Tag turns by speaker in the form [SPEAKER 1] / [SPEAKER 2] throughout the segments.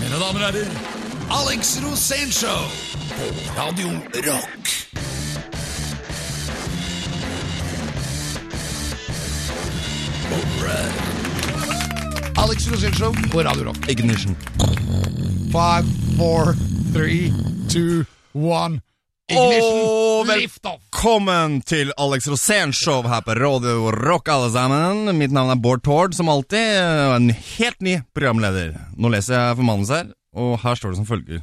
[SPEAKER 1] Mine damer og herrer, Alex Rosénshow på Radio Rock. Alright. Alex Rosénshow på Radio Rock.
[SPEAKER 2] Ignition.
[SPEAKER 1] Five, four, three, two, one.
[SPEAKER 2] Og
[SPEAKER 1] Ignition,
[SPEAKER 2] vel-
[SPEAKER 1] lift off.
[SPEAKER 2] Velkommen til Alex Rosén Show her på Radio Rock, alle sammen. Mitt navn er Bård Tord, som alltid, og en helt ny programleder. Nå leser jeg for manus her, og her står det som følger.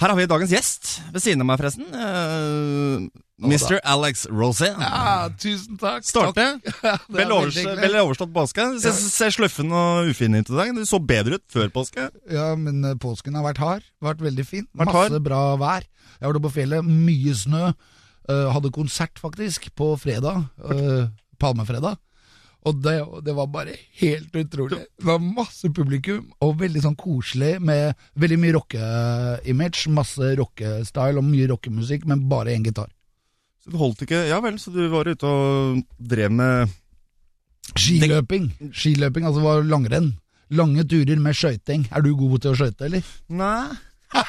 [SPEAKER 2] Her har vi dagens gjest ved siden av meg, forresten. Eh, Mr. Alex Rosén.
[SPEAKER 1] Ja, Ah, tusen takk.
[SPEAKER 2] Starte.
[SPEAKER 1] Ja, det er
[SPEAKER 2] Vel, overs
[SPEAKER 1] veldig hyggelig.
[SPEAKER 2] vel overstått påske. Ser, ser sluffen og ufin ut i dag. Du så bedre ut før påske.
[SPEAKER 1] Ja, men eh, påsken har vært hard. Vært veldig fin.
[SPEAKER 2] Vært
[SPEAKER 1] Masse
[SPEAKER 2] hard.
[SPEAKER 1] bra vær. Jeg var da på fjellet, mye snø. Eh, hadde konsert, faktisk, på fredag. eh, palmefredag. Og det, det var bare helt utrolig. Det var masse publikum, og veldig sånn koselig med veldig mye rocke-image. Masse rockestyle og mye rockemusikk, men bare én gitar.
[SPEAKER 2] Så du holdt ikke Ja vel, så du var ute og drev med
[SPEAKER 1] Skiløping. Skiløping, altså det var langrenn. Lange turer med skøyting. Er du god til å skøyte, eller?
[SPEAKER 2] Nei.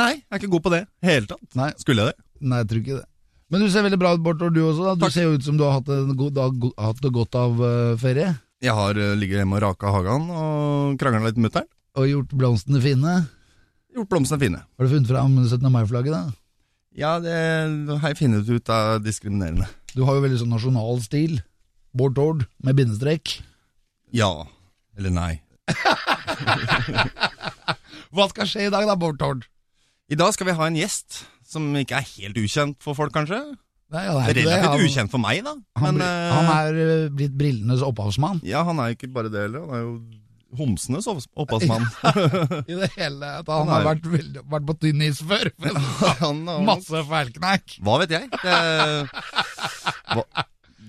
[SPEAKER 2] Nei, jeg er ikke god på det. Helt tatt.
[SPEAKER 1] Nei.
[SPEAKER 2] Skulle jeg det?
[SPEAKER 1] Nei, jeg tror ikke det. Men du ser veldig bra ut, Bård, og du også. da Du
[SPEAKER 2] Takk.
[SPEAKER 1] ser jo ut som du har hatt, en god dag, go- hatt det godt av eh, ferie.
[SPEAKER 2] Jeg har eh, ligger hjemme og raka hagen og krangla litt med mutter'n.
[SPEAKER 1] Og gjort blomstene fine.
[SPEAKER 2] Gjort blomstene fine.
[SPEAKER 1] Har du funnet fram 17. mai-flagget, da?
[SPEAKER 2] Ja, det har jeg funnet ut er diskriminerende.
[SPEAKER 1] Du har jo veldig sånn nasjonal stil. Bård Tord, med bindestrek.
[SPEAKER 2] Ja. Eller nei.
[SPEAKER 1] Hva skal skje i dag, da, Bård Tord?
[SPEAKER 2] I dag skal vi ha en gjest som ikke er helt ukjent for folk, kanskje.
[SPEAKER 1] Nei, han er ikke det.
[SPEAKER 2] Relativt
[SPEAKER 1] Han-
[SPEAKER 2] ukjent for meg, da.
[SPEAKER 1] Han,
[SPEAKER 2] Men
[SPEAKER 1] blir-
[SPEAKER 2] eh,
[SPEAKER 1] han er eh, blitt brillenes opphavsmann.
[SPEAKER 2] Ja, han er jo ikke bare det heller. Han er jo homsenes opp- opphavsmann.
[SPEAKER 1] I det hele tatt. Han
[SPEAKER 2] Han
[SPEAKER 1] har
[SPEAKER 2] er-
[SPEAKER 1] vært, veldig, vært på tynn is før. men
[SPEAKER 2] Han- han-
[SPEAKER 1] Masse feilknekk.
[SPEAKER 2] Hva vet jeg? Det, hva,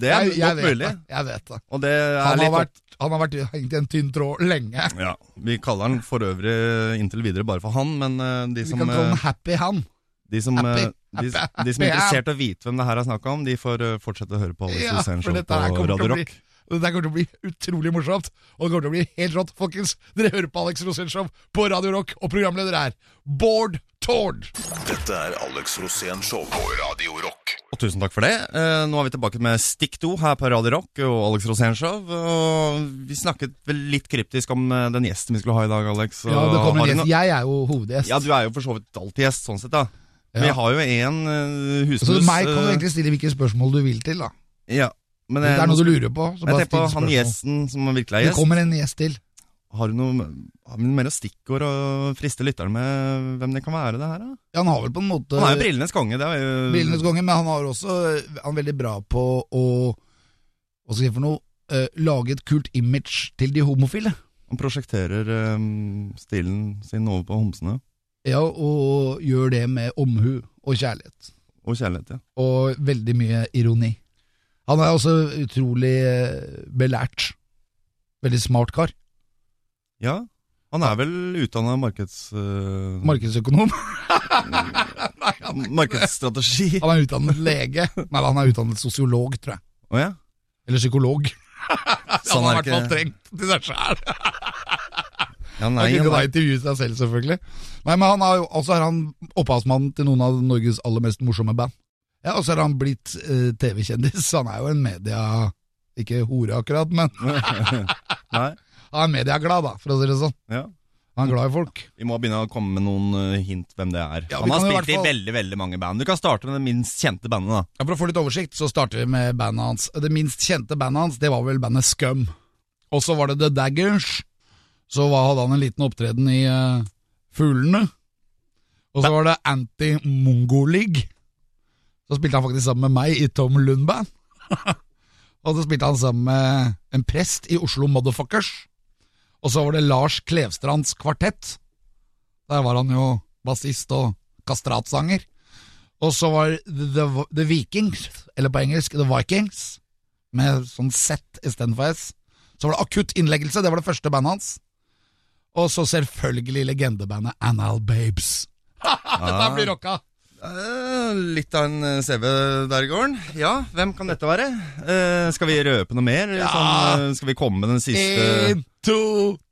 [SPEAKER 2] det er
[SPEAKER 1] Jeg, jeg
[SPEAKER 2] godt
[SPEAKER 1] vet
[SPEAKER 2] mulig.
[SPEAKER 1] det. Jeg vet det.
[SPEAKER 2] Og det er
[SPEAKER 1] Han har,
[SPEAKER 2] litt opp-
[SPEAKER 1] vært, han har vært hengt i en tynn tråd lenge.
[SPEAKER 2] Ja, Vi kaller han for øvrig eh, inntil videre bare for han, men eh, de
[SPEAKER 1] Vi
[SPEAKER 2] som,
[SPEAKER 1] kan kalle
[SPEAKER 2] eh,
[SPEAKER 1] han Happy Han.
[SPEAKER 2] de som,
[SPEAKER 1] Happy,
[SPEAKER 2] eh,
[SPEAKER 1] happy,
[SPEAKER 2] de, de som er
[SPEAKER 1] happy,
[SPEAKER 2] interessert i å vite hvem det her er snakk om, de får eh, fortsette å høre på Alex
[SPEAKER 1] Ja,
[SPEAKER 2] Rosén
[SPEAKER 1] for
[SPEAKER 2] Show
[SPEAKER 1] dette
[SPEAKER 2] på
[SPEAKER 1] her kommer til
[SPEAKER 2] Radio
[SPEAKER 1] å bli
[SPEAKER 2] Rock.
[SPEAKER 1] Dette her kommer til å bli utrolig morsomt, og det kommer til å bli helt rått, folkens. Dere hører på Alex Rosenshov på Radio Rock, og programleder er Bård Tord.
[SPEAKER 3] Dette er Alex Rosén Show på Radio Rock.
[SPEAKER 2] Og tusen takk for det. Eh, nå er vi tilbake med Stikk 2 her på Radio Rock og Alex Rosén Show. Og vi snakket vel litt kryptisk om eh, den gjesten vi skulle ha i dag, Alex.
[SPEAKER 1] Ja, det kommer
[SPEAKER 2] Har du
[SPEAKER 1] en
[SPEAKER 2] no-
[SPEAKER 1] gjest. Jeg er jo hovedgjest.
[SPEAKER 2] Ja, du er jo for så vidt alltid gjest, sånn sett, da.
[SPEAKER 1] Ja.
[SPEAKER 2] Vi har jo én uh, husmus
[SPEAKER 1] så meg kan du
[SPEAKER 2] eh,
[SPEAKER 1] egentlig stille hvilke spørsmål du vil til, da.
[SPEAKER 2] Ja, men
[SPEAKER 1] Hvis det
[SPEAKER 2] jeg-
[SPEAKER 1] er noe du lurer på, så
[SPEAKER 2] Jeg
[SPEAKER 1] bare
[SPEAKER 2] tenker på
[SPEAKER 1] still
[SPEAKER 2] han
[SPEAKER 1] spørsmål.
[SPEAKER 2] gjesten som virkelig er
[SPEAKER 1] Det
[SPEAKER 2] gjest.
[SPEAKER 1] kommer en gjest til.
[SPEAKER 2] Har du noe, har vi noe mer stikkord å friste lytterne med hvem det kan være, det her? da?
[SPEAKER 1] Ja, han har vel på en måte
[SPEAKER 2] Han er jo brillenes konge. Det er jo
[SPEAKER 1] brillenes konge, men han har også eh, Han er veldig bra på å Hva skal jeg si for noe? Eh, lage et kult image til de homofile.
[SPEAKER 2] Han prosjekterer eh, stilen sin over på homsene.
[SPEAKER 1] Ja, og gjør det med omhu og kjærlighet.
[SPEAKER 2] Og kjærlighet, ja.
[SPEAKER 1] og veldig mye ironi. Han er også utrolig eh, belært. Veldig smart kar.
[SPEAKER 2] Ja, han er vel utdanna markeds... eh,
[SPEAKER 1] Markedsøkonom.
[SPEAKER 2] markedsstrategi. Å
[SPEAKER 1] Han er utdannet lege. Nei, han er utdannet sosiolog, tror jeg.
[SPEAKER 2] ja.
[SPEAKER 1] Eller psykolog.
[SPEAKER 2] Så
[SPEAKER 1] han
[SPEAKER 2] han
[SPEAKER 1] har i hvert
[SPEAKER 2] Sånn er
[SPEAKER 1] fall
[SPEAKER 2] ikke
[SPEAKER 1] trengt til seg sjæl.
[SPEAKER 2] ja, nei,
[SPEAKER 1] Han kunne
[SPEAKER 2] han
[SPEAKER 1] da
[SPEAKER 2] er,
[SPEAKER 1] intervjue seg selv, selvfølgelig. Nei, men han er jo, også er han opphavsmannen til noen av Norges aller mest morsomme band. Ja, Og så er han blitt eh, TV-kjendis. Han er jo en media... Ikke hore akkurat, men
[SPEAKER 2] nei.
[SPEAKER 1] han er medieglad, da, for å si det sånn.
[SPEAKER 2] Ja.
[SPEAKER 1] Han er glad i folk.
[SPEAKER 2] Vi må begynne å komme med noen eh, hint hvem det er.
[SPEAKER 1] Ja, vi
[SPEAKER 2] han har
[SPEAKER 1] kan jo i
[SPEAKER 2] spilt i
[SPEAKER 1] hvert fall-
[SPEAKER 2] veldig veldig mange band. Du kan starte med det minst kjente bandet. da
[SPEAKER 1] Ja, For å få litt oversikt, så starter vi med bandet hans. Det minst kjente bandet hans, det var vel bandet Scum. Og så var det The Daggers. Så var, hadde han en liten opptreden i eh, Fuglene. Og så var det Anti-Mongo League. Så spilte han faktisk sammen med meg i Tom Lund-band. og så spilte han sammen med en prest i Oslo Motherfuckers. Og så var det Lars Klevstrands kvartett. Der var han jo bassist og kastratsanger. Og så var The, The Vikings, eller på engelsk The Vikings, med sånn Z istedenfor S. Så var det Akutt innleggelse, det var det første bandet hans. Og så selvfølgelig legendebandet Anal Babes. Dette blir rocka!
[SPEAKER 2] Eh, litt av en eh, CV der i gården. Ja, hvem kan dette være? Eh, skal vi røpe
[SPEAKER 1] Eh,
[SPEAKER 2] noe mer? Sånn, eh, skal vi komme med den siste
[SPEAKER 1] Én, to,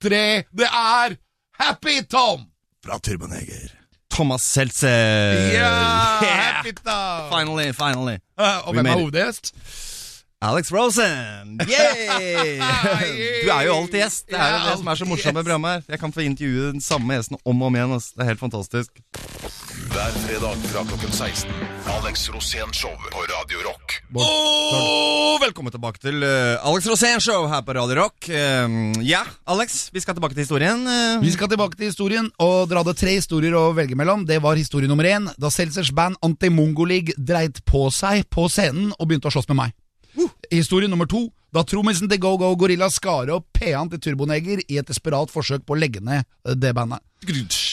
[SPEAKER 1] tre, det er Happy Tom!
[SPEAKER 2] Fra Turboneger. Thomas Seltzer.
[SPEAKER 1] Ja,
[SPEAKER 2] Eh, Yeah!
[SPEAKER 1] Happy Tom!
[SPEAKER 2] Finally, finally.
[SPEAKER 1] Eh, og
[SPEAKER 2] We
[SPEAKER 1] hvem
[SPEAKER 2] made
[SPEAKER 1] er
[SPEAKER 2] it.
[SPEAKER 1] hovedgjest?
[SPEAKER 2] Alex Rosen! Yay! Du er jo alltid gjest. Det er jo det som er så morsomt med programmet her. Jeg kan få intervjue den samme gjesten om og om igjen. ass. Det er helt fantastisk.
[SPEAKER 3] Hver fredag fra klokken 16. Alex Rosén Show på Radio Rock.
[SPEAKER 2] Og velkommen tilbake til eh, Alex Rosén Show her på Radio Rock. Eh, ja, Alex, vi skal tilbake til historien. eh.
[SPEAKER 1] Vi skal tilbake til historien, og dere hadde tre historier å velge mellom. Det var historie nummer én, da Seltzers band Anti-Mongo League dreit på seg på scenen og begynte å slåss med meg. Historie nummer to, da trommisen til Go Go Gorilla skar opp P-en til Turboneger i et desperat forsøk på å legge ned eh, det bandet.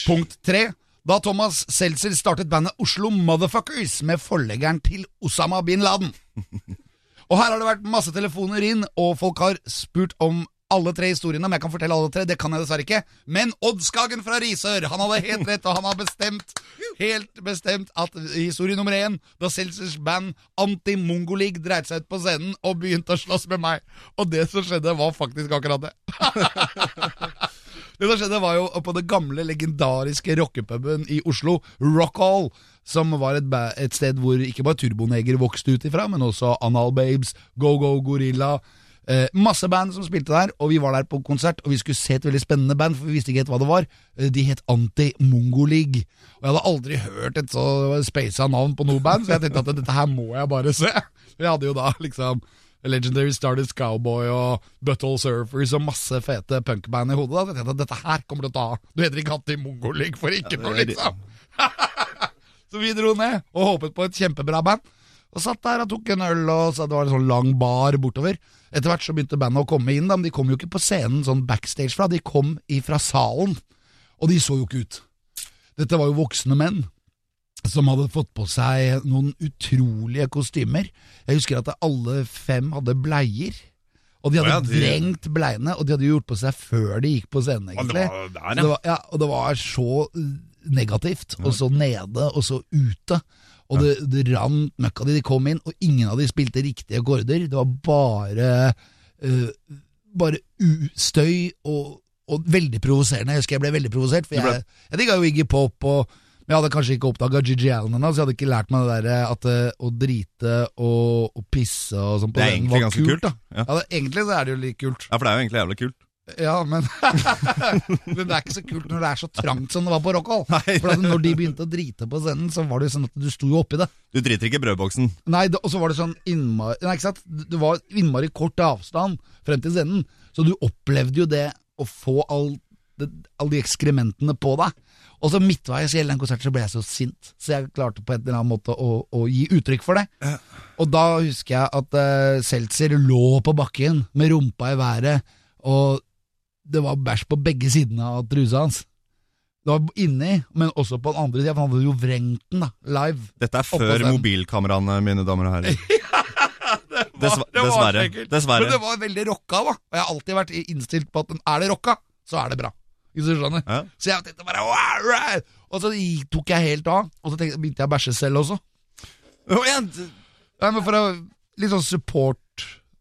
[SPEAKER 1] Punkt tre, da Thomas Seltzer startet bandet Oslo Motherfuckers med forleggeren til Osama bin Laden. Og her har det vært masse telefoner inn, og folk har spurt om alle tre historiene, men jeg kan fortelle alle tre, det kan jeg dessverre ikke. Men Odd Skagen fra Risør, han hadde helt rett, og han har bestemt, helt bestemt at historie nummer én, da Seltzers band Anti-Mongo League dreit seg ut på scenen og begynte å slåss med meg. Og det som skjedde var faktisk akkurat det. Det som skjedde var jo på det gamle, legendariske rockepuben i Oslo, Rock Hall, som var et, ba- et sted hvor ikke bare Turboneger vokste ut ifra, men også Anal Babes, Go Go Gorilla eh, Masse band som spilte der, og vi var der på konsert, og vi skulle se et veldig spennende band, for vi visste ikke helt hva det var. Eh, De het Anti-Mongo League. Og jeg hadde aldri hørt et så spasa navn på noe band, så jeg tenkte at dette her må jeg bare se. Vi hadde jo da liksom Legendary Stardust Cowboy og Butthole Surfers og masse fete punkband i hodet. Da. Så Jeg tenkte at dette her kommer til å ta av. Du heter ikke Anti-Mongo League for ikke noe,
[SPEAKER 2] det er-
[SPEAKER 1] liksom. Så vi dro ned og håpet på et kjempebra band. Og satt der og tok en øl, og så det var en sånn lang bar bortover. Etter hvert så begynte bandet å komme inn, da, men de kom jo ikke på scenen sånn backstage fra, de kom ifra salen. Og de så jo ikke ut. Dette var jo voksne menn som hadde fått på seg noen utrolige kostymer. Jeg husker at alle fem hadde bleier. Og de hadde
[SPEAKER 2] Å ja, de-
[SPEAKER 1] vrengt bleiene, og de hadde gjort på seg før de gikk på scenen, egentlig.
[SPEAKER 2] var der, ja.
[SPEAKER 1] Så det var, ja, og det var så eh, negativt, og så nede, og så ute. Og det, det rant møkk av de. De kom inn, og ingen av de spilte riktige akkorder. Det var bare eh, Bare u støy og, og veldig provoserende. Jeg husker jeg ble veldig provosert, for
[SPEAKER 2] Du ble-
[SPEAKER 1] jeg, jeg digga jo Iggy Pop, og, men jeg hadde kanskje ikke oppdaga Gigi Allen ennå, så jeg hadde ikke lært meg det der at eh, å drite og, og pisse og sånn på
[SPEAKER 2] Det er
[SPEAKER 1] scenen
[SPEAKER 2] egentlig
[SPEAKER 1] var
[SPEAKER 2] ganske
[SPEAKER 1] kult.
[SPEAKER 2] kult,
[SPEAKER 1] da.
[SPEAKER 2] da. Ja.
[SPEAKER 1] Ja, det, egentlig så er det jo litt kult.
[SPEAKER 2] ja, for det er jo egentlig jævlig kult.
[SPEAKER 1] Ja, men, men det er ikke så kult når det er så trangt som det var på Rockall.
[SPEAKER 2] Nei.
[SPEAKER 1] For at når de begynte å drite på scenen, så var det jo sånn at du sto jo oppi det.
[SPEAKER 2] Du driter ikke i brødboksen.
[SPEAKER 1] Nei, det, Og så var det sånn innmari Nei, ikke sant? Det var innmari kort avstand frem til scenen, så du opplevde jo det å få all- det- alle de ekskrementene på deg. Og så midtveis i hele den konserten så ble jeg så sint, så jeg klarte på en eller annen måte å, å gi uttrykk for det. Og da husker jeg at eh, Seltzer lå på bakken med rumpa i været, og det var bæsj på begge sidene av trusa hans. Det var inni, men også på den andre sida, for han hadde jo vrengt den da, live.
[SPEAKER 2] Dette er
[SPEAKER 1] Oppå
[SPEAKER 2] før
[SPEAKER 1] scenen.
[SPEAKER 2] mobilkameraene, mine damer og herrer. Dessver-
[SPEAKER 1] det var
[SPEAKER 2] dessverre.
[SPEAKER 1] sikkert. Men det
[SPEAKER 2] dessverre.
[SPEAKER 1] var veldig rocka, da. Og jeg har alltid vært innstilt på at er det rocka, så er det bra. Hvis du skjønner.
[SPEAKER 2] Ja.
[SPEAKER 1] Så jeg tenkte bare "Wow, right." Og så tok jeg helt av, og så tenkte, begynte jeg å bæsje selv også.
[SPEAKER 2] Å, ja, d-
[SPEAKER 1] Nei, men for å, litt sånn support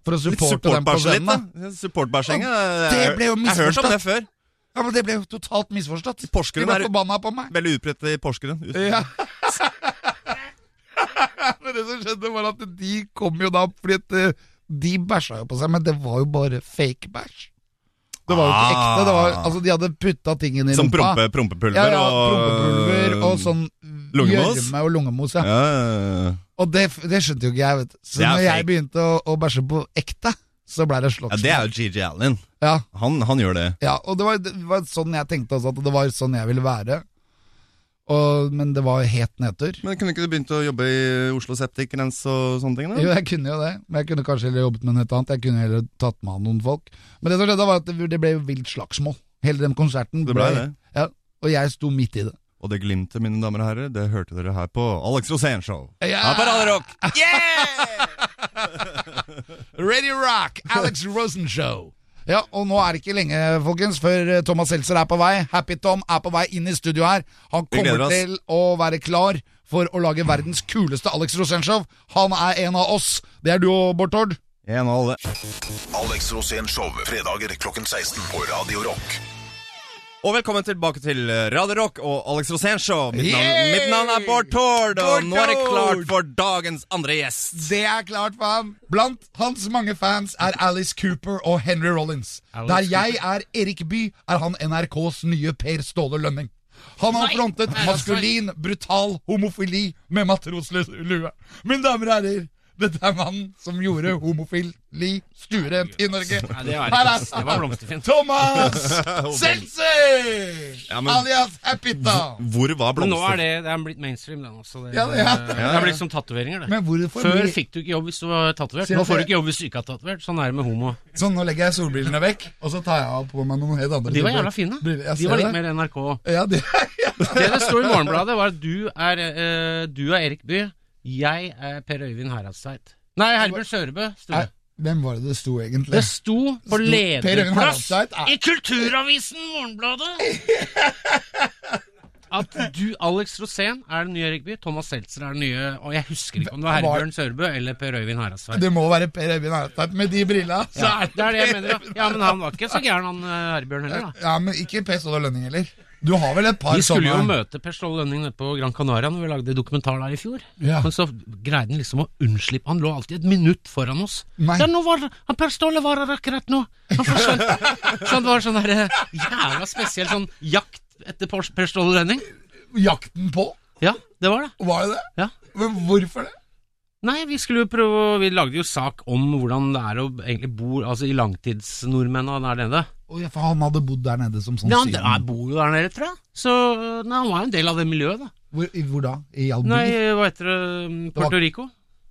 [SPEAKER 1] For å
[SPEAKER 2] Litt
[SPEAKER 1] supporte dem på
[SPEAKER 2] supportbæsje litt,
[SPEAKER 1] scenen. da.
[SPEAKER 2] da. Supportbæsjinga.
[SPEAKER 1] Ja, det ble jo
[SPEAKER 2] Jeg har hørt om det før.
[SPEAKER 1] Ja, men Det ble jo totalt misforstått. De
[SPEAKER 2] Porsgrunn
[SPEAKER 1] ble
[SPEAKER 2] er-
[SPEAKER 1] forbanna på meg.
[SPEAKER 2] Veldig utbredt i Porsgrunn.
[SPEAKER 1] Ja. men det som skjedde, var at de kom jo da fordi at eh, de bæsja jo på seg, men det var jo bare fake bæsj. Det var jo ikke
[SPEAKER 2] Ah.
[SPEAKER 1] ekte. Det var, altså, de hadde putta tingen i
[SPEAKER 2] Som
[SPEAKER 1] rumpa.
[SPEAKER 2] prompe, prompepulver
[SPEAKER 1] ja, ja,
[SPEAKER 2] og
[SPEAKER 1] prompepulver og sånn
[SPEAKER 2] lungemos.
[SPEAKER 1] gjørme og lungemos. Ja.
[SPEAKER 2] Ja, ja, ja.
[SPEAKER 1] Og det, det skjønte jo ikke jeg, vet du. Så
[SPEAKER 2] Det er
[SPEAKER 1] når jeg
[SPEAKER 2] fake.
[SPEAKER 1] begynte å, å bæsje på ekte, så blei det
[SPEAKER 2] ja,
[SPEAKER 1] slått.
[SPEAKER 2] det er jo GG Allen.
[SPEAKER 1] ja,
[SPEAKER 2] Han, han gjør det.
[SPEAKER 1] ja, og det var, det var sånn jeg tenkte også, at det var sånn jeg ville være. Og, men det var het nedtur.
[SPEAKER 2] Men kunne ikke du begynt å jobbe i Oslo Septic Rens og sånne ting? da?
[SPEAKER 1] Jo, jeg kunne jo det, men jeg kunne kanskje heller jobbet med noe annet. Jeg kunne heller tatt med noen folk. Men det som skjedde, var at det, det ble jo vilt slagsmål. Hele den konserten.
[SPEAKER 2] Det ble det.
[SPEAKER 1] Ja, og jeg sto midt i det.
[SPEAKER 2] Og det glimtet, mine damer og herrer, det hørte dere her på Alex Rosén Show.
[SPEAKER 1] Ja!
[SPEAKER 2] Her på Radio Rock!
[SPEAKER 1] Radio Rock, Alex Rosen Show. Ja, og nå er det ikke lenge, folkens, før eh, Thomas Seltzer er på vei. Happy Tom er på vei inn i studio her. Han
[SPEAKER 2] Vi gleder
[SPEAKER 1] kommer
[SPEAKER 2] oss.
[SPEAKER 1] til å være klar for å lage verdens kuleste Alex Rosenshov. Han er en av oss. Det er du òg, Bård Tord.
[SPEAKER 2] En og alle.
[SPEAKER 3] Alex Rosén Show fredager klokken 16 på Radio Rock.
[SPEAKER 2] Og velkommen tilbake til eh, Radio Rock og Alex Rosén Show. Mitt navn,
[SPEAKER 1] Yay!
[SPEAKER 2] mitt navn er Bård Tord, og
[SPEAKER 1] Bård
[SPEAKER 2] nå er det klart
[SPEAKER 1] Tord!
[SPEAKER 2] for dagens andre gjest.
[SPEAKER 1] Det er klart for ham. Blant hans mange fans er Alice Cooper og Henry Rollins.
[SPEAKER 4] Alice
[SPEAKER 1] Der jeg er Erik By, er han NRKs nye Per Ståle Lønning. Han har frontet maskulin, brutal homofili med matroslue. Mine damer og herrer, dette er mannen som gjorde homofili stuerent i Norge.
[SPEAKER 4] Nei, det var,
[SPEAKER 1] Her
[SPEAKER 4] ikke,
[SPEAKER 1] er
[SPEAKER 4] det var blomsterfint.
[SPEAKER 1] Thomas Seltzer!
[SPEAKER 2] Ja, men-
[SPEAKER 1] Alias Happyta.
[SPEAKER 2] Hvor var
[SPEAKER 4] Men nå er det, det er blitt mainstream, den også. Det,
[SPEAKER 1] Ja, ja.
[SPEAKER 4] det er blitt som tatoveringer, det.
[SPEAKER 1] Men hvorfor
[SPEAKER 4] Før
[SPEAKER 1] blir-
[SPEAKER 4] fikk du ikke jobb hvis du var tatovert.
[SPEAKER 1] Sier
[SPEAKER 4] Nå
[SPEAKER 1] at
[SPEAKER 4] får du
[SPEAKER 1] det-
[SPEAKER 4] ikke jobb hvis du ikke er tatovert. Sånn er det med homo.
[SPEAKER 1] Sånn, nå legger jeg solbrillene vekk, og så tar jeg av på meg noen helt andre
[SPEAKER 4] De var
[SPEAKER 1] typer
[SPEAKER 4] jævla fine.
[SPEAKER 1] briller. Jeg
[SPEAKER 4] De
[SPEAKER 1] ser
[SPEAKER 4] var litt
[SPEAKER 1] det.
[SPEAKER 4] mer NRK.
[SPEAKER 1] Ja, det, ja.
[SPEAKER 4] Det det sto i Morgenbladet, var at du er, eh, du er Erik By, jeg er Per Øyvind Heradstveit. Nei, Herbjørn Sørebø. sto
[SPEAKER 1] Nei,
[SPEAKER 4] det.
[SPEAKER 1] Hvem var det det sto egentlig?
[SPEAKER 4] Det sto på
[SPEAKER 1] Sto- Per Øyvind
[SPEAKER 4] lederplass
[SPEAKER 1] Heradstveit er-
[SPEAKER 4] i Kulturavisen Morgenbladet at du, Alex Rosén, er den nye Erik By, Thomas Seltzer er den nye Og jeg husker ikke om det var
[SPEAKER 1] Var-
[SPEAKER 4] Herbjørn Sørebø eller Per Øyvind Heradstveit.
[SPEAKER 1] Det må være Per Øyvind Heradstveit med de brilla. Så
[SPEAKER 4] Ja,
[SPEAKER 1] er
[SPEAKER 4] det er det jeg mener. Ja. ja, Men han var ikke så gæren, han eh, Herbjørn heller, da.
[SPEAKER 1] det Ja, men ikke Per Ståle Lønning heller. Du har vel et par
[SPEAKER 4] Vi skulle jo
[SPEAKER 1] sånne-
[SPEAKER 4] møte Per Ståle Lønning nede på Gran Canaria når vi lagde dokumentar der i fjor.
[SPEAKER 1] Ja.
[SPEAKER 4] Men så greide han liksom å unnslippe. Han lå alltid et minutt foran oss.
[SPEAKER 1] Nei.
[SPEAKER 4] Ja, nå var han Per Ståle var her akkurat nå! Han forsvant. så det var sånn der, eh, jævla spesiell sånn jakt etter Per Per Ståle Lønning.
[SPEAKER 1] Jakten på?
[SPEAKER 4] Ja, det var det.
[SPEAKER 1] Var det det?
[SPEAKER 4] Ja.
[SPEAKER 1] Men hvorfor det?
[SPEAKER 4] Nei, vi skulle jo prøve å- Vi lagde jo sak om hvordan det er å egentlig bo altså, i langtidsnordmenn og der nede.
[SPEAKER 1] Å, ja, for han hadde bodd der nede som sånn
[SPEAKER 4] Ja, han
[SPEAKER 1] siden.
[SPEAKER 4] han bor jo der nede, tror jeg. Så nei, han var jo en del av det miljøet, da.
[SPEAKER 1] Hvor, i, hvor da? I Albi?
[SPEAKER 4] Nei, hva heter det? um, Puerto Rico?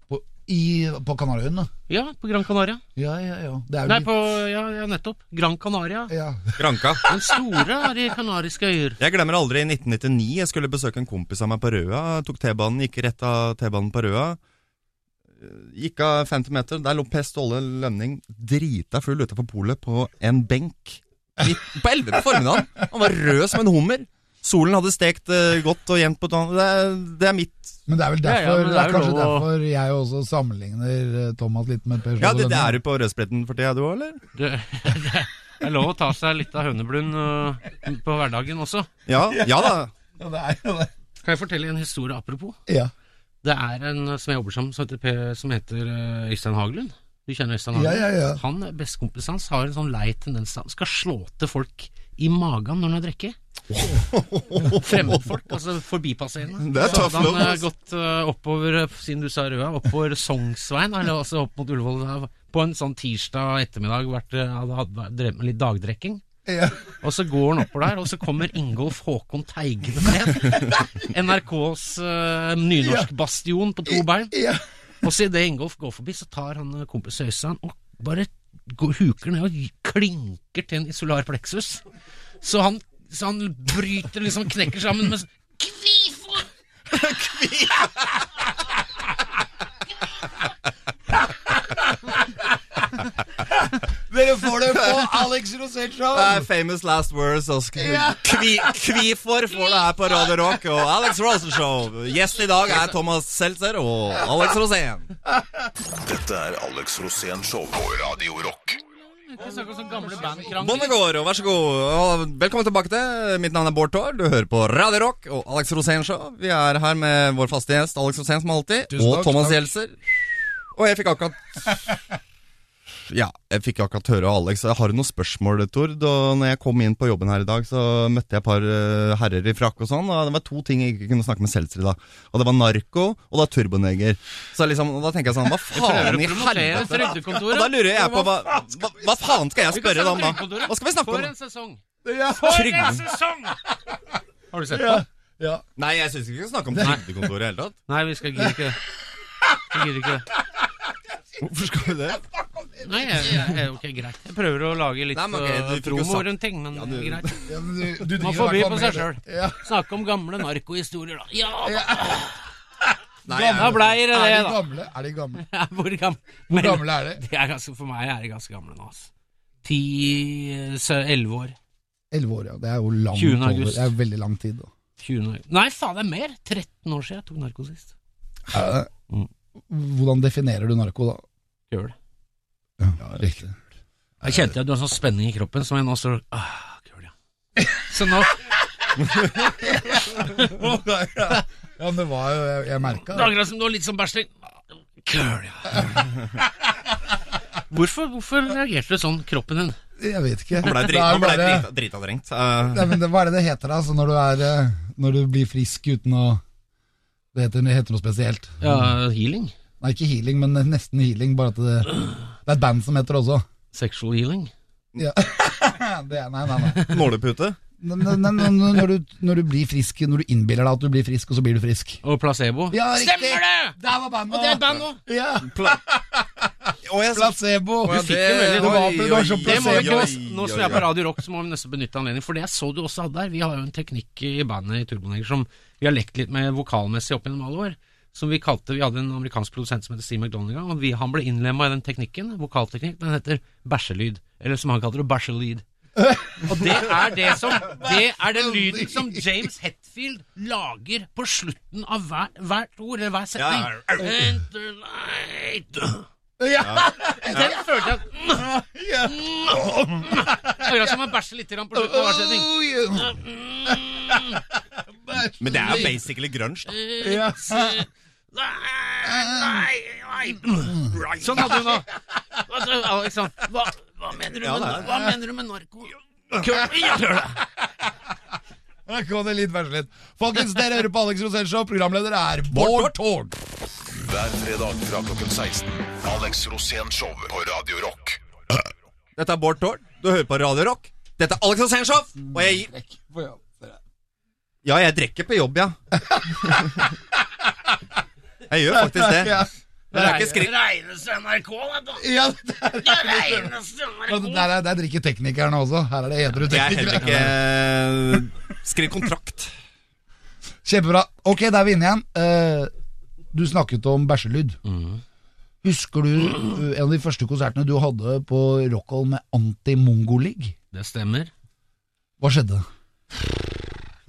[SPEAKER 1] På, i, på Kanariøyene?
[SPEAKER 4] Ja, på Gran Canaria.
[SPEAKER 1] Ja, ja, ja. Det er jo
[SPEAKER 4] Nei,
[SPEAKER 1] litt-
[SPEAKER 4] på Ja, ja nettopp. Gran Canaria.
[SPEAKER 1] ja.
[SPEAKER 2] Granka.
[SPEAKER 4] Den store er de kanariske øyer.
[SPEAKER 2] Jeg glemmer aldri i 1999 jeg skulle besøke en kompis av meg på Røa. Jeg Tok T-banen, gikk rett av T-banen på Røa. Eh, Gikk av 50 meter, der lå Per Ståle Lønning drita full utafor polet på en benk. Midt på 11 på formiddagen. Han var rød som en hummer. Solen hadde stekt eh, godt og jevnt på tann. Det, er- det er mitt
[SPEAKER 1] Men det er vel
[SPEAKER 4] Ja, ja,
[SPEAKER 1] derfor, det
[SPEAKER 4] men
[SPEAKER 1] er
[SPEAKER 4] det er jo
[SPEAKER 1] kanskje
[SPEAKER 4] lov å-
[SPEAKER 1] derfor jeg også sammenligner eh, Thomas litt med Per Ståle
[SPEAKER 2] Ja, det, det
[SPEAKER 1] Lønning.
[SPEAKER 2] er du på Rødspretten for tida, du òg, eller?
[SPEAKER 4] Det, det er lov å ta seg litt av høneblund øh, på hverdagen også.
[SPEAKER 2] Ja, ja da.
[SPEAKER 1] Ja, det er jo det.
[SPEAKER 4] Kan jeg fortelle en historie apropos?
[SPEAKER 1] Ja.
[SPEAKER 4] Det er en øh, som jeg jobber sammen som heter, Per- som heter øh, Øystein Hagelund. Du kjenner Øystein
[SPEAKER 1] Ja,
[SPEAKER 4] Hagelund?
[SPEAKER 1] ja, ja.
[SPEAKER 4] Han, eh, Bestekompisen hans har en sånn lei tendens til at han skal slå til folk i magen når han har drukket. Fremmedfolk, altså forbipasserende.
[SPEAKER 2] Det er
[SPEAKER 4] Så
[SPEAKER 2] tough
[SPEAKER 4] hadde han
[SPEAKER 2] love,
[SPEAKER 4] eh,
[SPEAKER 2] ass.
[SPEAKER 4] gått eh, oppover, eh, siden du sa Røa, oppover Sognsveien, eller altså opp mot Ullevål, der, på en sånn tirsdag ettermiddag, vært, eh, hadde, hadde drevet med litt dagdrekking.
[SPEAKER 1] Ja.
[SPEAKER 4] Og så går han oppover der, og så kommer Ingolf Håkon Teigene ned. NRKs eh, nynorskbastion på to bein.
[SPEAKER 1] ja.
[SPEAKER 4] Og så idet Ingolf går forbi, så tar han eh, kompis Øystein og bare går, huker ned og klinker til en i solar plexus. Så han, så han bryter liksom, knekker sammen med Kvifor!
[SPEAKER 1] Dere får det på Alex Rosén Show.
[SPEAKER 2] Det er famous last words. Og sk- kvi, kvifor får du her på Radio Rock og Alex Rosen Show. Gjest i dag er Thomas Seltzer og Alex Rosén.
[SPEAKER 3] Dette er Alex Rosén Show på Radio Rock.
[SPEAKER 4] Ikke snakk om sånn gamle bandkrangler.
[SPEAKER 2] Bondegård, og vær så god. Og velkommen tilbake til Mitt navn er Bård Tord. Du hører på Radio Rock og Alex Rosén Show. Vi er her med vår faste gjest Alex Rosén som alltid,
[SPEAKER 1] Tusen
[SPEAKER 2] og
[SPEAKER 1] takk,
[SPEAKER 2] Thomas
[SPEAKER 1] takk.
[SPEAKER 2] Gjelser. Og jeg fikk akkurat Ja, jeg fikk akkurat høre Alex. Jeg har noen spørsmål, Tord. Og når jeg kom inn på jobben her i dag, så møtte jeg et par eh, herrer i frakk og sånn. Og det var to ting jeg ikke kunne snakke med Seltzer i da. Og det var narko, og da turboneger. Så liksom, og da tenker jeg sånn Hva faen i
[SPEAKER 4] Prøver å promotere
[SPEAKER 2] helvete?
[SPEAKER 4] Trygdekontoret.
[SPEAKER 2] Og da lurer jeg på hva, hva, hva faen skal jeg
[SPEAKER 4] Vi kan
[SPEAKER 2] spørre
[SPEAKER 4] snakke
[SPEAKER 2] dem da?
[SPEAKER 4] Trygdekontoret.
[SPEAKER 2] Hva skal vi snakke om?
[SPEAKER 4] For en sesong!
[SPEAKER 1] Ja.
[SPEAKER 4] For
[SPEAKER 2] Trygden.
[SPEAKER 4] en sesong! Har du sett
[SPEAKER 1] Ja.
[SPEAKER 4] på?
[SPEAKER 1] Ja.
[SPEAKER 2] Nei, jeg syns ikke vi skal snakke om trygdekontoret i det hele tatt.
[SPEAKER 4] Nei, vi skal gidder ikke det. Vi gidder ikke det.
[SPEAKER 2] Hvorfor skal vi det?
[SPEAKER 4] Nei, jeg, jeg, ok, greit. Jeg prøver å lage litt
[SPEAKER 2] Nei, men ok,
[SPEAKER 4] eh,
[SPEAKER 2] du fikk jo
[SPEAKER 4] promo
[SPEAKER 2] sagt-
[SPEAKER 4] rundt ting, men
[SPEAKER 2] du-
[SPEAKER 4] greit.
[SPEAKER 1] Ja, men du, du
[SPEAKER 4] Man
[SPEAKER 1] driver
[SPEAKER 4] får by
[SPEAKER 1] i hvert
[SPEAKER 4] på
[SPEAKER 1] fall
[SPEAKER 4] seg
[SPEAKER 1] med
[SPEAKER 4] sjøl.
[SPEAKER 1] det. Ja.
[SPEAKER 4] Snakke om gamle narkohistorier, da. Ja!
[SPEAKER 2] Nei,
[SPEAKER 4] Da blei det
[SPEAKER 1] Er
[SPEAKER 4] det,
[SPEAKER 1] de
[SPEAKER 4] da.
[SPEAKER 1] gamle? Er de gamle?
[SPEAKER 4] Ja, Hvor gamle,
[SPEAKER 1] Hvor gamle er de?
[SPEAKER 4] De er ganske, for meg er de ganske gamle nå, altså. Ti, sø- elleve år.
[SPEAKER 1] 11 år, ja. Det er jo langt
[SPEAKER 4] 20.
[SPEAKER 1] over.
[SPEAKER 4] august.
[SPEAKER 1] Det er jo veldig lang tid. Da.
[SPEAKER 4] 20 år. Nei, faen, det er mer! 13 år siden jeg tok narko sist.
[SPEAKER 1] Er
[SPEAKER 4] Mm.
[SPEAKER 1] det- Hvordan definerer du narko, da?
[SPEAKER 4] Gjør det.
[SPEAKER 1] Ja, riktig.
[SPEAKER 4] Jeg kjente at du hadde sånn spenning i kroppen som jeg nå står ah, kul, ja. Så nå
[SPEAKER 1] Ja, det var jo Jeg, jeg merka
[SPEAKER 4] Det er akkurat som du var litt som bæsjing. Køl, ja. Hvorfor, hvorfor reagerte du sånn, kroppen din?
[SPEAKER 1] Jeg vet ikke.
[SPEAKER 2] Han ble
[SPEAKER 1] Det er jo bare-
[SPEAKER 2] drita drita drengt. Eh,
[SPEAKER 1] Nei, men det, Hva er det det heter, da? Altså, når, du er, eh, når du blir frisk uten å Det heter, det heter noe spesielt.
[SPEAKER 4] Ja, healing?
[SPEAKER 1] Nei, ikke healing, men nesten healing. Bare at det, det er et band som heter det også.
[SPEAKER 4] Sexual healing?
[SPEAKER 1] Ja. Det er, nei, nei, nei.
[SPEAKER 2] Nålepute.
[SPEAKER 1] Nei, nei, nei, nei, nei, Når, du, når du blir frisk, når du innbiller deg at du blir frisk, og så blir du frisk.
[SPEAKER 4] Og placebo?
[SPEAKER 1] Ja, riktig!
[SPEAKER 4] Stemmer det!
[SPEAKER 1] Der var bandet!
[SPEAKER 4] Og det er band nå.
[SPEAKER 1] Ja.
[SPEAKER 2] Å, jeg sa
[SPEAKER 1] Placebo.
[SPEAKER 2] Å, ja,
[SPEAKER 4] fikk jo veldig-
[SPEAKER 1] det var- det var så
[SPEAKER 4] Det må vi
[SPEAKER 1] Placebo.
[SPEAKER 4] ikke, nå som vi er på Radio Rock, så må vi nesten benytte anledningen. For det jeg så du også hadde der, vi har jo en teknikk i bandet i Turboneger som vi har lekt litt med vokalmessig opp gjennom alle år. Som vi kalte Vi hadde en amerikansk produsent som heter Steve McDonagha, og vi, han ble innlemma i den teknikken, vokalteknikk, den heter bæsjelyd. Eller som han kaller det, bæsjelyd. Og det er det som Det er den lyden som James Hetfield lager på slutten av hver, hvert ord, eller hver setning.
[SPEAKER 2] Ja,
[SPEAKER 4] Enter light
[SPEAKER 1] Ja.
[SPEAKER 4] Den følte jeg Akkurat som man bæsjer litt grann på slutten av hver setning.
[SPEAKER 1] Oh, yeah.
[SPEAKER 2] Men det er jo basically grunge, da.
[SPEAKER 1] Ja.
[SPEAKER 4] Sånn hadde hun nå. Altså, Alex sånn hva, hva, mener du
[SPEAKER 2] Ja,
[SPEAKER 4] med,
[SPEAKER 2] det er det.
[SPEAKER 4] hva mener du med narko? Køl- Ja, køl det.
[SPEAKER 1] Der kom det litt verselig. Folkens, dere hører på Alex Rosenshov. Programleder er Bård Tord.
[SPEAKER 3] Hver fredag fra klokken 16. Alex Rosénshow på Radio Rock.
[SPEAKER 2] Dette er Bård Tord. Du hører på Radio Rock. Dette er Alex Osenshov, og jeg gir Ja, jeg drikker på jobb, ja. Jeg gjør faktisk det.
[SPEAKER 1] Ja.
[SPEAKER 2] Det er ikke skritt.
[SPEAKER 4] Reineste NRK, dette.
[SPEAKER 1] Ja, det er-
[SPEAKER 4] Det er reineste
[SPEAKER 1] Altså,
[SPEAKER 4] NRK.
[SPEAKER 1] der, er, der drikker teknikerne også. Her er det edru
[SPEAKER 2] Jeg er heller
[SPEAKER 1] teknikere.
[SPEAKER 2] ikke Skriv kontrakt.
[SPEAKER 1] Kjempebra. Ok, da er vi inne igjen. Eh, du snakket om bæsjelyd.
[SPEAKER 2] Mhm.
[SPEAKER 1] Husker du eh, en av de første konsertene du hadde på Rockhold med Anti-Mongo League?
[SPEAKER 4] Det stemmer.
[SPEAKER 1] Hva skjedde?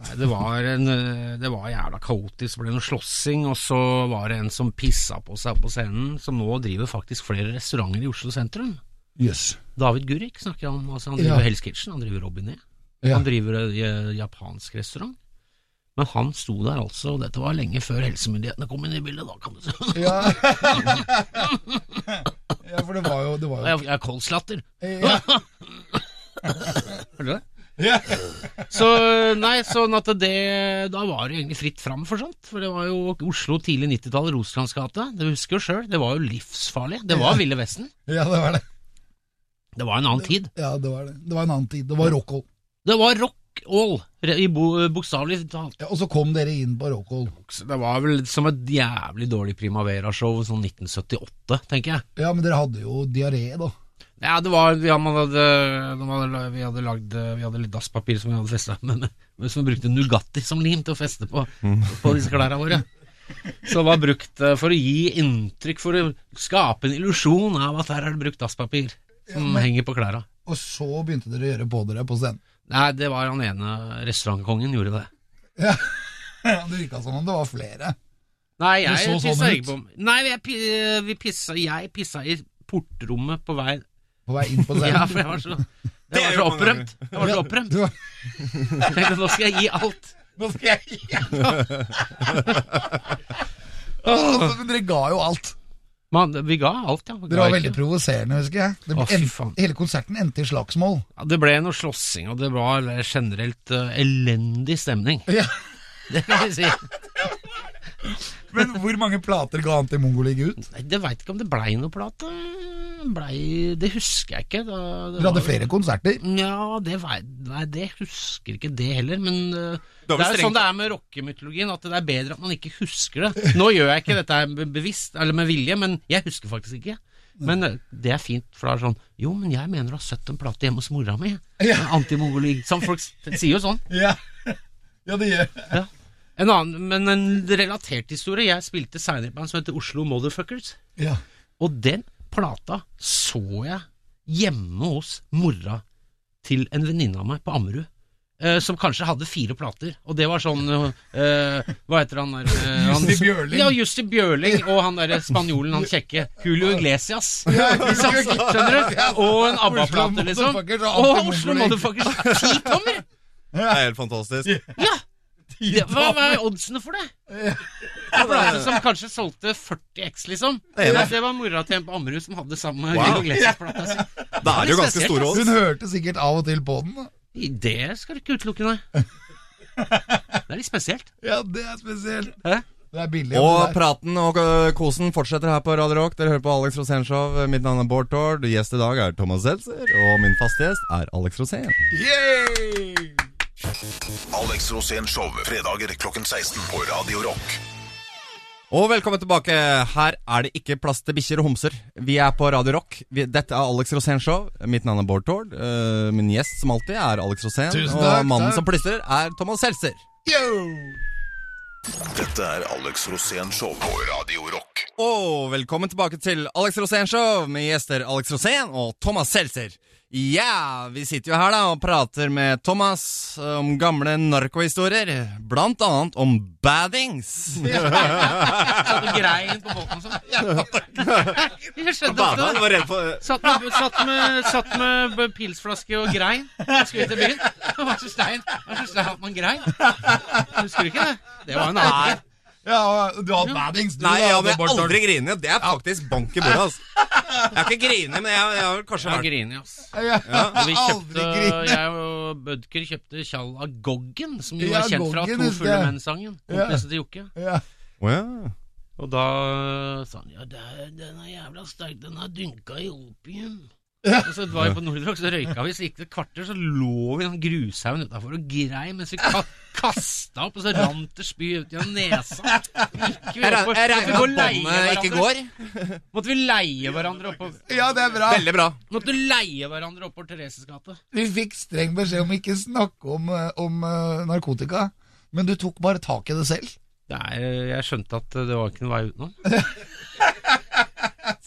[SPEAKER 4] Nei, Det var, en, eh, det var jævla kaotisk, det ble noe slåssing, og så var det en som pissa på seg på scenen, som nå driver faktisk flere restauranter i Oslo sentrum.
[SPEAKER 1] Jøss. Yes.
[SPEAKER 4] David Gurik snakker jeg om, altså han driver
[SPEAKER 1] Ja.
[SPEAKER 4] Hell's Kitchen, han driver Robinet,
[SPEAKER 1] Ja.
[SPEAKER 4] han driver en eh, japansk restaurant. Men han sto der altså, og dette var lenge før helsemyndighetene kom inn i bildet, da kan du si.
[SPEAKER 1] Ja. ja, for det var jo, det var jo.
[SPEAKER 4] Jeg, jeg er kolslatter.
[SPEAKER 1] Ja.
[SPEAKER 4] Hører du det?
[SPEAKER 1] Ja.
[SPEAKER 4] Så nei, sånn at det Da var det egentlig fritt fram for sånt. For det var jo Oslo tidlig 90-tall, Rosenkrantz gate. Du husker jo sjøl, det var jo livsfarlig. Det var Ville Vesten.
[SPEAKER 1] ja, det var det.
[SPEAKER 4] Det var en annen tid.
[SPEAKER 1] Ja, det var det. Det var en annen tid. Det var Rockhold.
[SPEAKER 4] Det var rock all, re- i bo- bokstavelig talt.
[SPEAKER 1] Ja, og så kom dere inn på Rockhold.
[SPEAKER 4] Det var vel som et jævlig dårlig Primavera-show sånn 1978, tenker jeg.
[SPEAKER 1] Ja, men dere hadde jo diaré, da.
[SPEAKER 4] Ja, det var ja, man hadde, man hadde, Vi hadde lagd Vi hadde litt dasspapir som vi hadde festa med, med- men som vi brukte Nugatti som lim til å feste på, på disse klærne våre. Som var brukt eh, for å gi inntrykk, for å skape en illusjon av at her er det brukt dasspapir som henger på klærne.
[SPEAKER 1] Og så begynte dere å gjøre på dere på scenen.
[SPEAKER 4] Nei, det var han ene restaurantkongen gjorde det.
[SPEAKER 1] Det virka som om det var flere.
[SPEAKER 4] Nei,
[SPEAKER 1] Det
[SPEAKER 4] jeg
[SPEAKER 1] så sånn
[SPEAKER 4] pissa
[SPEAKER 1] ut.
[SPEAKER 4] ikke på Nei, jeg, pi- vi pissa, jeg pissa i portrommet på vei
[SPEAKER 1] På vei inn på scenen.
[SPEAKER 4] Ja, for jeg var så, jeg
[SPEAKER 2] gjør
[SPEAKER 4] var så
[SPEAKER 2] man
[SPEAKER 4] opprømt. Jeg var så opprømt.
[SPEAKER 1] Du var-
[SPEAKER 4] Jeg tenkte, nå skal jeg gi alt.
[SPEAKER 1] Nå skal jeg Altså, men Dere ga jo alt.
[SPEAKER 4] Man, vi ga alt, ja. Vi
[SPEAKER 1] Dere
[SPEAKER 4] ga
[SPEAKER 1] var
[SPEAKER 4] ikke.
[SPEAKER 1] veldig provoserende, husker jeg. Det ble
[SPEAKER 4] Å, fy
[SPEAKER 1] en-
[SPEAKER 4] faen.
[SPEAKER 1] hele konserten endte i slagsmål.
[SPEAKER 4] Ja, det ble noe slåssing, og det var generelt eh, elendig stemning.
[SPEAKER 1] Ja.
[SPEAKER 4] Det kan vi si.
[SPEAKER 1] Men hvor mange plater ga han til Mongo ligge ut?
[SPEAKER 4] Nei, det veit ikke om det blei noe plate. Blei Det husker jeg ikke. Da, det
[SPEAKER 1] Dere hadde
[SPEAKER 4] var-
[SPEAKER 1] flere konserter.
[SPEAKER 4] Ja, det vei, Nei, det husker ikke det heller, men eh,
[SPEAKER 2] Du har vel
[SPEAKER 4] det er jo
[SPEAKER 2] strengt-
[SPEAKER 4] sånn det er med rockemytologien, at det er bedre at man ikke husker det. Nå gjør jeg ikke dette her be- bevisst, eller med vilje, men jeg husker faktisk ikke. Men eh, det er fint, for det er sånn Jo, men jeg mener du har sett en plate hjemme hos mora mi.
[SPEAKER 1] Ja.
[SPEAKER 4] Antimongoli. Sånn, folk s- sier jo sånn.
[SPEAKER 1] Ja, ja det gjør
[SPEAKER 4] Ja. En annen, men en relatert historie. Jeg spilte seinere i et band som heter Oslo Motherfuckers.
[SPEAKER 1] ja.
[SPEAKER 4] Og den plata så jeg hjemme hos mora til en venninne av meg på Ammerud. eh, som kanskje hadde fire plater, og det var sånn eh, Hva heter han der? eh, han-
[SPEAKER 1] Jussi Bjørling.
[SPEAKER 4] Ja, Justi Bjørling og han derre spanjolen, han kjekke. Julio Iglesias. Liksom, skjønner du? Og en
[SPEAKER 1] Oslo
[SPEAKER 4] ABBA-plate, liksom.
[SPEAKER 1] Motherfuckers og
[SPEAKER 4] Og
[SPEAKER 1] Anti-Mongolic.
[SPEAKER 4] Oslo Motherfuckers! Ti tommer!
[SPEAKER 2] Det er helt fantastisk.
[SPEAKER 4] Det, hva, hva er oddsene for det? Det var en som kanskje solgte 40 X, liksom.
[SPEAKER 2] Det er det.
[SPEAKER 4] Det var mora til en på Ammerud som hadde samme
[SPEAKER 2] Wow.
[SPEAKER 4] Lego Glesses-plata si.
[SPEAKER 2] Det er jo ganske store
[SPEAKER 1] Hun
[SPEAKER 2] odds.
[SPEAKER 1] hørte sikkert av og til på den.
[SPEAKER 4] I Det skal du ikke utelukke, nei. Det er litt spesielt.
[SPEAKER 1] Ja, det er spesielt.
[SPEAKER 4] Hæ?
[SPEAKER 1] Det er billig.
[SPEAKER 2] Og
[SPEAKER 1] det der.
[SPEAKER 2] praten og ø, kosen fortsetter her på Radio Rock. Dere hører på Alex Rosénshow. Mitt navn er Bård Tord. Gjest i dag er Thomas Seltzer. Og min faste gjest er Alex Rosén.
[SPEAKER 1] Yay!
[SPEAKER 3] Alex Rosén Show, fredager klokken 16 på Radio Rock.
[SPEAKER 2] Og velkommen tilbake. Her er det ikke plass til bikkjer og homser. Vi er på Radio Rock. Vi, dette er Alex Rosénshow. Mitt navn er Bård Tord. Ø, min gjest som alltid er Alex Rosén.
[SPEAKER 1] Tusen
[SPEAKER 2] Og
[SPEAKER 1] takk,
[SPEAKER 2] mannen
[SPEAKER 1] takk.
[SPEAKER 2] som plystrer, er Thomas Seltzer.
[SPEAKER 1] Yo!
[SPEAKER 3] Dette er Alex Rosén Show på Radio Rock.
[SPEAKER 2] Og velkommen tilbake til Alex Rosén-show med gjester Alex Rosén og Thomas Seltzer. Ja, vi sitter jo her da og prater med Thomas om gamle narkohistorier, blant annet om baddings.
[SPEAKER 4] Satt og grein på båten og sånn. Jeg skjønte ikke det.
[SPEAKER 2] var redd for...
[SPEAKER 4] Satt med, satt, med, satt med b- pilsflaske og grein. Jeg skulle ut i byen. Hva slags stein? Hva slags stein at man grein? Husker du ikke det? Det var en annen.
[SPEAKER 1] Ja, og du har baddings, du.
[SPEAKER 2] Nei,
[SPEAKER 1] da,
[SPEAKER 2] ja,
[SPEAKER 1] det
[SPEAKER 2] men jeg
[SPEAKER 1] bare
[SPEAKER 2] har
[SPEAKER 1] tar-
[SPEAKER 2] aldri grinet. Det er faktisk bank i bordet, altså. Jeg har ikke grinet, men jeg, jeg har kanskje
[SPEAKER 4] Jeg
[SPEAKER 2] vært...
[SPEAKER 4] griner, ass.
[SPEAKER 1] Ja, øh,
[SPEAKER 4] Vi
[SPEAKER 1] aldri
[SPEAKER 4] kjøpte,
[SPEAKER 1] grine.
[SPEAKER 4] jeg og Bødker kjøpte Tjall av Goggen, som jo
[SPEAKER 1] Ja,
[SPEAKER 4] er kjent fra
[SPEAKER 1] Goggen,
[SPEAKER 4] To
[SPEAKER 1] husker
[SPEAKER 4] fulle
[SPEAKER 1] jeg.
[SPEAKER 4] menn-sangen. Kompisen til Jokke.
[SPEAKER 1] Ja.
[SPEAKER 2] Åja.
[SPEAKER 4] Og da sa han ja, det er, den er jævla sterk, den er dynka i opium. Og så var vi på Nordrock, så røyka vi, så gikk det et kvarter, så lå vi i den grushaugen utafor og grei mens vi ka kasta opp, og så rant det spy ut gjennom nesa. Gikk vi
[SPEAKER 2] Jeg
[SPEAKER 4] opp,
[SPEAKER 2] re- jeg regner
[SPEAKER 4] måtte vi gå og
[SPEAKER 2] med at båndet ikke går.
[SPEAKER 4] leie hverandre- Måtte vi leie hverandre oppover
[SPEAKER 1] ja, det er bra.
[SPEAKER 2] Veldig bra.
[SPEAKER 4] Måtte leie hverandre oppover Thereses gate.
[SPEAKER 1] Vi fikk streng beskjed om ikke snakke om, eh, om eh, narkotika, men du tok bare tak i det selv.
[SPEAKER 4] Det er, jeg skjønte at det var ikke noen vei utenom.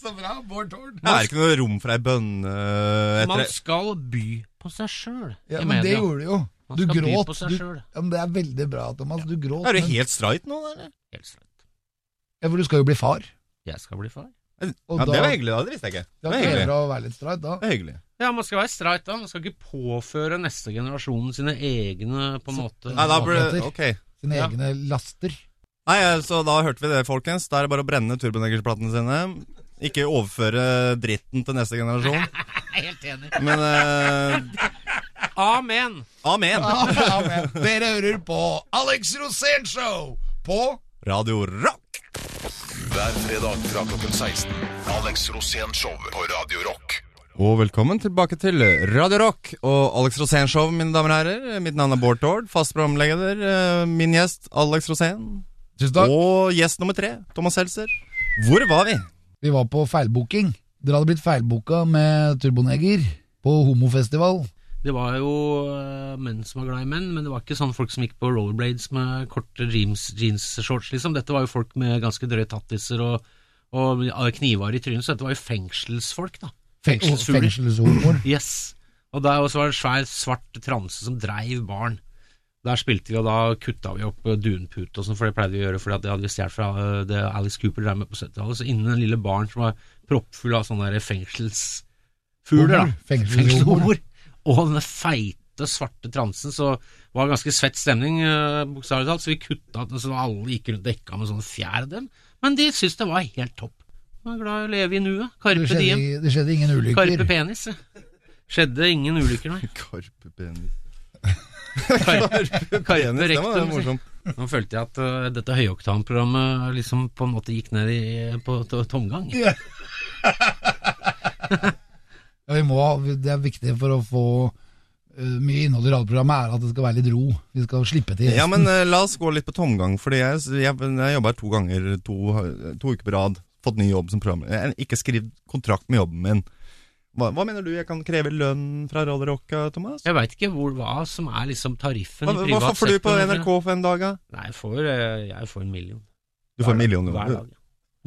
[SPEAKER 1] Så bra, Bård Tord.
[SPEAKER 2] Det er ikke noe rom for ei bønne eh, etter...
[SPEAKER 4] Man skal by på seg sjøl
[SPEAKER 1] Ja,
[SPEAKER 4] i
[SPEAKER 1] men det
[SPEAKER 4] media.
[SPEAKER 1] gjorde du jo.
[SPEAKER 4] Man
[SPEAKER 1] Du
[SPEAKER 4] skal by
[SPEAKER 1] gråt.
[SPEAKER 4] på seg
[SPEAKER 1] Du,
[SPEAKER 4] selv.
[SPEAKER 1] ja, men det er veldig bra, Thomas. Du gråt.
[SPEAKER 2] Er du
[SPEAKER 1] men-
[SPEAKER 2] helt streit nå, eller?
[SPEAKER 4] Helt slett.
[SPEAKER 1] Ja, for du skal jo bli far.
[SPEAKER 4] Jeg skal bli far.
[SPEAKER 1] Og
[SPEAKER 2] ja,
[SPEAKER 1] da-
[SPEAKER 2] det var hyggelig, da. Det visste jeg ikke. Det
[SPEAKER 1] Det
[SPEAKER 2] var
[SPEAKER 1] er ikke
[SPEAKER 2] hyggelig.
[SPEAKER 1] bra å være litt streit da.
[SPEAKER 2] Det var hyggelig.
[SPEAKER 4] Ja, Man skal være streit da. Man skal ikke påføre neste generasjon sine egne på en måte
[SPEAKER 2] Nei, da ble
[SPEAKER 1] Svakheter.
[SPEAKER 2] Ok.
[SPEAKER 1] Sine
[SPEAKER 4] Ja.
[SPEAKER 1] egne laster.
[SPEAKER 2] Nei, eh, så da hørte vi det, folkens. Da er det bare å brenne turboneggersplatene sine. Ikke overføre dritten til neste generasjon.
[SPEAKER 4] Jeg er helt enig.
[SPEAKER 2] Men eh,
[SPEAKER 4] Amen!
[SPEAKER 2] amen.
[SPEAKER 1] Amen. Dere hører på Alex Rosén Show på
[SPEAKER 2] Radio Rock!
[SPEAKER 3] Hver fredag fra klokken 16. Alex Rosén Show på Radio Rock.
[SPEAKER 2] Og velkommen tilbake til Radio Rock og Alex Rosén-show, mine damer og herrer. Mitt navn er Bård Tord, fast programleder. eh, Min gjest Alex Rosén.
[SPEAKER 1] Tusen takk.
[SPEAKER 2] Og gjest nummer tre, Thomas Seltzer. Hvor var vi?
[SPEAKER 1] Vi var på feilbooking. Dere hadde blitt feilbooka med Turboneger på homofestival.
[SPEAKER 4] Det var jo eh, menn som var glad i menn, men det var ikke sånn folk som gikk på rollerblades med korte jeans, jeansshorts, liksom. Dette var jo folk med ganske drøye tattiser og, og knivar i trynet, så dette var jo fengselsfolk, da. Fengselsfugler.
[SPEAKER 1] Fengselshomoer.
[SPEAKER 4] Yes. Og der også var det en svær, svart transe som dreiv barn. Der spilte vi, og da kutta vi opp eh, dunpute og sånn, for det pleide vi å gjøre, for det hadde vi stjålet fra eh, det Alice Cooper drev med på 70-tallet. Så innen den lille barn som var proppfull av sånne der fengselsfugler, da.
[SPEAKER 1] Homor. Fengselshomoer.
[SPEAKER 4] Og denne feite, svarte transen, så var det ganske svett stemning, eh, bokstavelig talt, så vi kutta den, så alle gikk rundt dekka med sånne fjær av dem. Men de syntes det var helt topp. De var glad i å leve i nuet.
[SPEAKER 1] Det,
[SPEAKER 4] Carpe diem.
[SPEAKER 1] skjedde- det skjedde ingen
[SPEAKER 4] Karpe
[SPEAKER 1] ulykker.
[SPEAKER 4] penis. Skjedde ingen ulykker, nei.
[SPEAKER 2] Karpe penis.
[SPEAKER 4] Karpe,
[SPEAKER 2] Penis, det var
[SPEAKER 4] rektum,
[SPEAKER 2] morsomt.
[SPEAKER 4] Nå følte jeg at eh, dette høyoktanprogrammet liksom på en måte gikk ned i, eh, på to- tomgang.
[SPEAKER 1] Ja, vi må, ha- det er viktig for å få eh, mye innhold i radioprogrammet, er at det skal være litt ro. Vi skal slippe til
[SPEAKER 2] Ja,
[SPEAKER 1] gjesten.
[SPEAKER 2] men eh, la oss gå litt på tomgang, fordi jeg, jeg, jeg jobba her to ganger, to, to uker på rad. Fått ny jobb som programleder. Jeg har Ikke skrevet kontrakt med jobben min. Hva, hva mener du jeg kan kreve lønn fra Radio Rock, eh, Thomas?
[SPEAKER 4] Jeg veit ikke hvor, hva som er liksom tariffen
[SPEAKER 2] Hva,
[SPEAKER 4] i
[SPEAKER 2] hva
[SPEAKER 4] privat
[SPEAKER 2] får du på
[SPEAKER 4] sektor.
[SPEAKER 2] NRK for en dag, da?
[SPEAKER 4] Nei, jeg får, eh, jeg får en million
[SPEAKER 2] Du får en million i
[SPEAKER 4] hver
[SPEAKER 2] året.
[SPEAKER 4] dag. ja.